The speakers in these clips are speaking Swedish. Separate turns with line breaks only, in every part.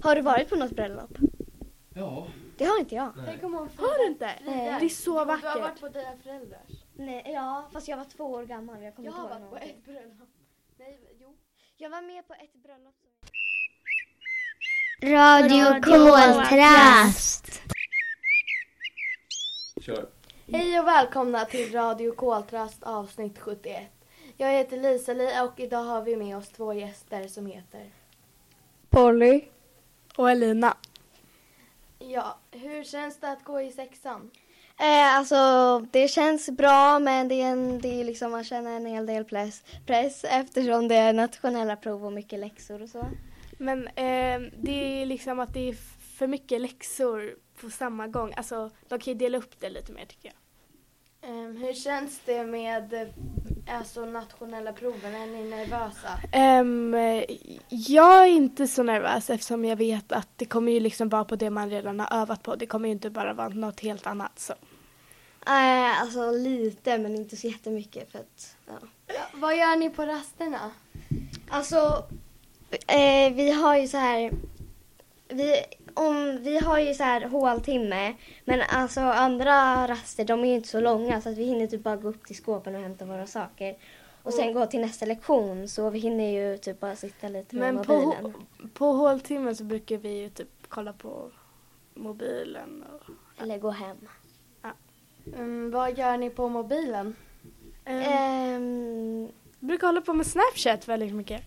Har du varit på något bröllop?
Ja.
Det har inte jag.
Nej.
Tänk om hon
Har du inte?
Nej.
Det är så
Du har varit
vackert.
på dina föräldrars.
Nej, ja, fast jag var två år gammal. Jag, kommer
Jag
inte
har
ihåg
varit på
någonting.
ett bröllop. Nej, jo.
jag var med på ett bröllop.
Radio Koltrast.
Kör.
Hej och välkomna till Radio Koltrast avsnitt 71. Jag heter Lisa Li och idag har vi med oss två gäster som heter...
Polly och Elina.
Ja, hur känns det att gå i sexan?
Eh, alltså, det känns bra, men det är en, det är liksom, man känner en hel del press, press eftersom det är nationella prov och mycket läxor och så.
Men eh, det är liksom att det är för mycket läxor på samma gång. Alltså, de kan ju dela upp det lite mer tycker jag.
Ehm, hur känns det med eh, alltså, nationella proven? Är ni nervösa?
Ehm, jag är inte så nervös eftersom jag vet att det kommer ju liksom vara på det man redan har övat på. Det kommer ju inte bara vara något helt annat. Så.
Eh, alltså lite, men inte så jättemycket. För att, ja.
Ja, vad gör ni på rasterna?
Alltså, eh, vi har ju så här... Vi, om, vi har ju så här håltimme, men alltså andra raster de är ju inte så långa så att vi hinner typ bara gå upp till skåpen och hämta våra saker. Och sen gå till nästa lektion så vi hinner ju typ bara sitta lite med
Men på,
mobilen.
hå- på håltimmen så brukar vi ju typ kolla på mobilen. Och,
Eller gå hem.
Ehm, vad gör ni på mobilen?
Ehm,
Ehm,
brukar hålla på med Snapchat väldigt mycket.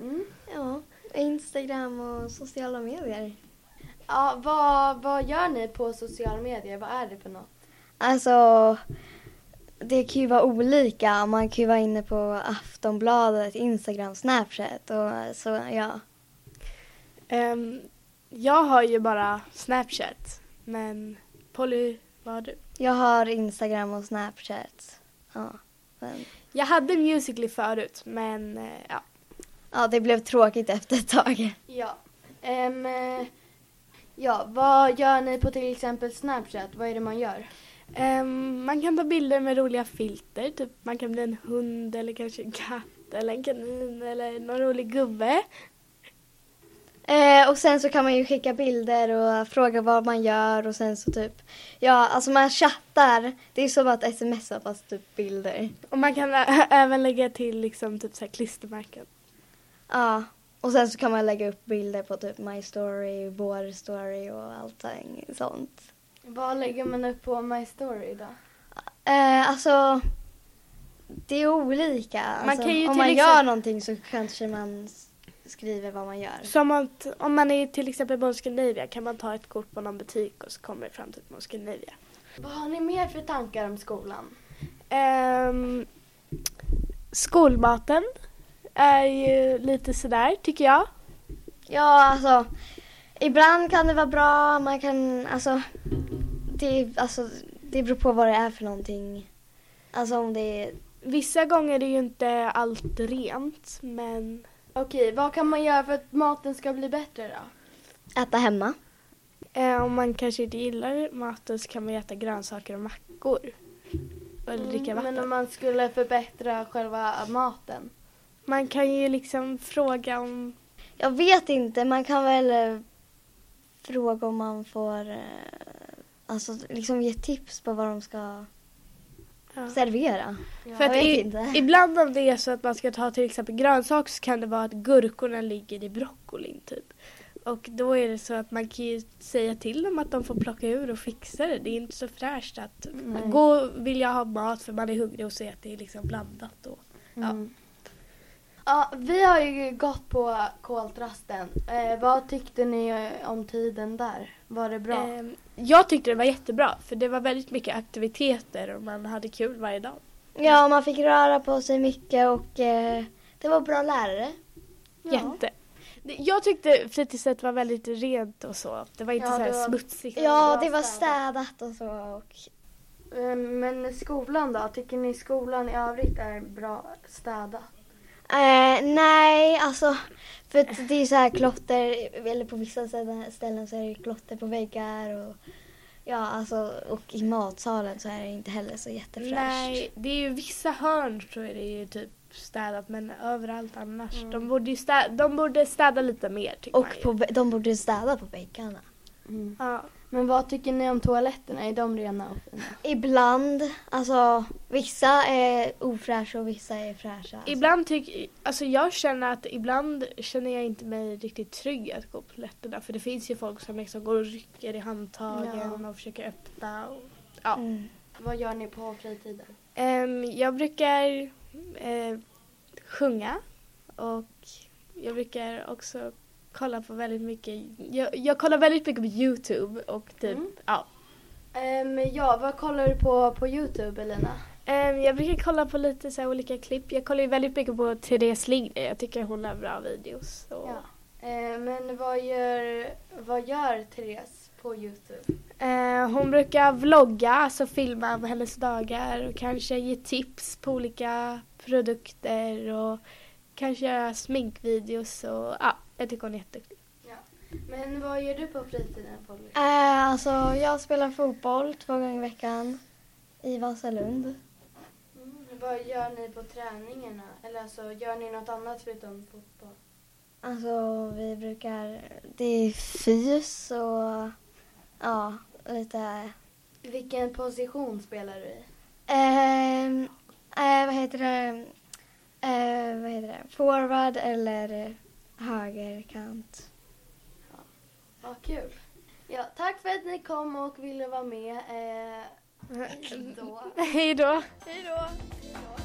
Mm.
ja, Instagram och sociala medier.
Ja, vad, vad gör ni på sociala medier? Vad är det för något?
Alltså, det kan ju vara olika. Man kan ju vara inne på Aftonbladet, Instagram, Snapchat och så ja.
Ehm, jag har ju bara Snapchat. Men Polly, vad har du?
Jag har Instagram och Snapchat. Ja, men,
Jag hade Musical.ly förut, men eh, ja.
ja det blev tråkigt efter ett tag.
Ja. Ehm, eh, ja, vad gör ni på till exempel Snapchat? Vad är det man gör?
Ehm, man kan ta bilder med roliga filter, typ man kan bli en hund eller kanske en katt eller en kanin eller någon rolig gubbe.
Eh, och sen så kan man ju skicka bilder och fråga vad man gör och sen så typ, ja alltså man chattar. Det är som att smsa fast typ bilder.
Och man kan ä- även lägga till liksom typ så här klistermärken.
Ja, och sen så kan man lägga upp bilder på typ My Story, Vår Story och allting sånt.
Vad lägger man upp på My Story då?
Eh, alltså, det är olika.
Man
Alltså,
kan ju
om
till
man
exempel-
gör någonting så kanske man s- skriver vad man gör.
Som att, om man är till exempel på Scandinavia kan man ta ett kort på någon butik och så kommer det fram typ på Scandinavia.
Vad har ni mer för tankar om skolan?
Ehm, skolmaten är ju lite sådär tycker jag.
Ja, alltså, ibland kan det vara bra, man kan, alltså, det, alltså, det beror på vad det är för någonting. Alltså om det är,
Vissa gånger är det ju inte allt rent, men
Okej, vad kan man göra för att maten ska bli bättre då?
äta hemma.
eh, om man kanske inte gillar maten så kan man äta grönsaker och mackor. Eller dricka vatten.
Mm, Men om
man...
man skulle förbättra själva maten?
kan ju liksom fråga om...
Jag vet inte, man kan väl eh, fråga om man får, eh, alltså liksom ge tips på vad de ska
Ja.
servera.
För
jag
att
vet
i,
inte.
ibland om det är så att man ska ta till exempel grönsaker så kan det vara att gurkorna ligger i broccolin typ. Och då är det så att man kan ju säga till dem att de får plocka ur och fixa det. Det är inte så fräscht att
Nej.
gå vill jag ha mat för man är hungrig och så att det är liksom blandat då.
Ja. Mm. Ja, vi har ju gått på koltrasten. Eh, vad tyckte ni eh, om tiden där? Var det bra?
Ehm, Jag tyckte det var jättebra för det var väldigt mycket aktiviteter och man hade kul varje dag.
Ja, man fick röra på sig mycket och eh, det var bra lärare.
Jätte. Det- Jag tyckte fritidset var väldigt rent och så. Det var inte
Ja,
så här
det var-
smutsigt.
Ja,
bra
det var
städat.
städat och så. Och,
Eh, Men skolan då? Tycker ni skolan i övrigt är bra städat?
eh, nej, alltså för att det är så här klotter, eller på vissa ställen ställen så är det klotter på väggar och ja, alltså och i matsalen så är det inte heller så jättefräscht.
Nej, det är ju vissa hörn så är det ju typ städat men överallt annars. De, borde ju städa, de borde städa lite mer tycker
Mm. Och
man ju.
på, Alltså. bä- de borde städa på väggarna.
Mm.
Ja.
Men vad tycker ni om toaletterna? Är de rena och fina?
Ibland, alltså vissa är ofräscha och vissa är fräscha. Alltså.
Ibland tycker, alltså jag känner att ibland känner jag inte mig riktigt trygg att gå på toaletterna för det finns ju folk som liksom går och rycker i handtagen och försöker öppna. Och, ja.
Mm.
Vad gör ni på fritiden?
Ehm, jag brukar eh, sjunga och jag brukar också kolla på väldigt mycket, jag, jag kollar väldigt mycket på Youtube och typ,
Mm.
ja.
Ehm, ja, vad kollar du på på Youtube Elina?
Ehm, jag brukar kolla på lite så här olika klipp, jag kollar ju väldigt mycket på Therese Lindgren, jag tycker hon har bra videos. Och,
Ja. Eh, men vad gör, vad gör Therese på Youtube?
Eh, hon brukar vlogga, alltså filma om hennes dagar och kanske ge tips på olika produkter och kanske göra sminkvideos och ja, jag tycker hon är jätteduktig.
Men vad gör du på fritiden Polly?
Eh, alltså jag spelar fotboll två gånger i veckan i Vasalund.
Mm, vad gör ni på träningarna? Eller alltså, gör ni något annat förutom fotboll?
Alltså vi brukar, det är fys och ja, lite
Vilken position spelar du i?
Ehm, eh, vad heter det? Eh, vad heter det? Forward eller högerkant.
Vad kul. Ja, tack för att ni kom och ville vara med. Eh, då.
Hej då!
Hej då.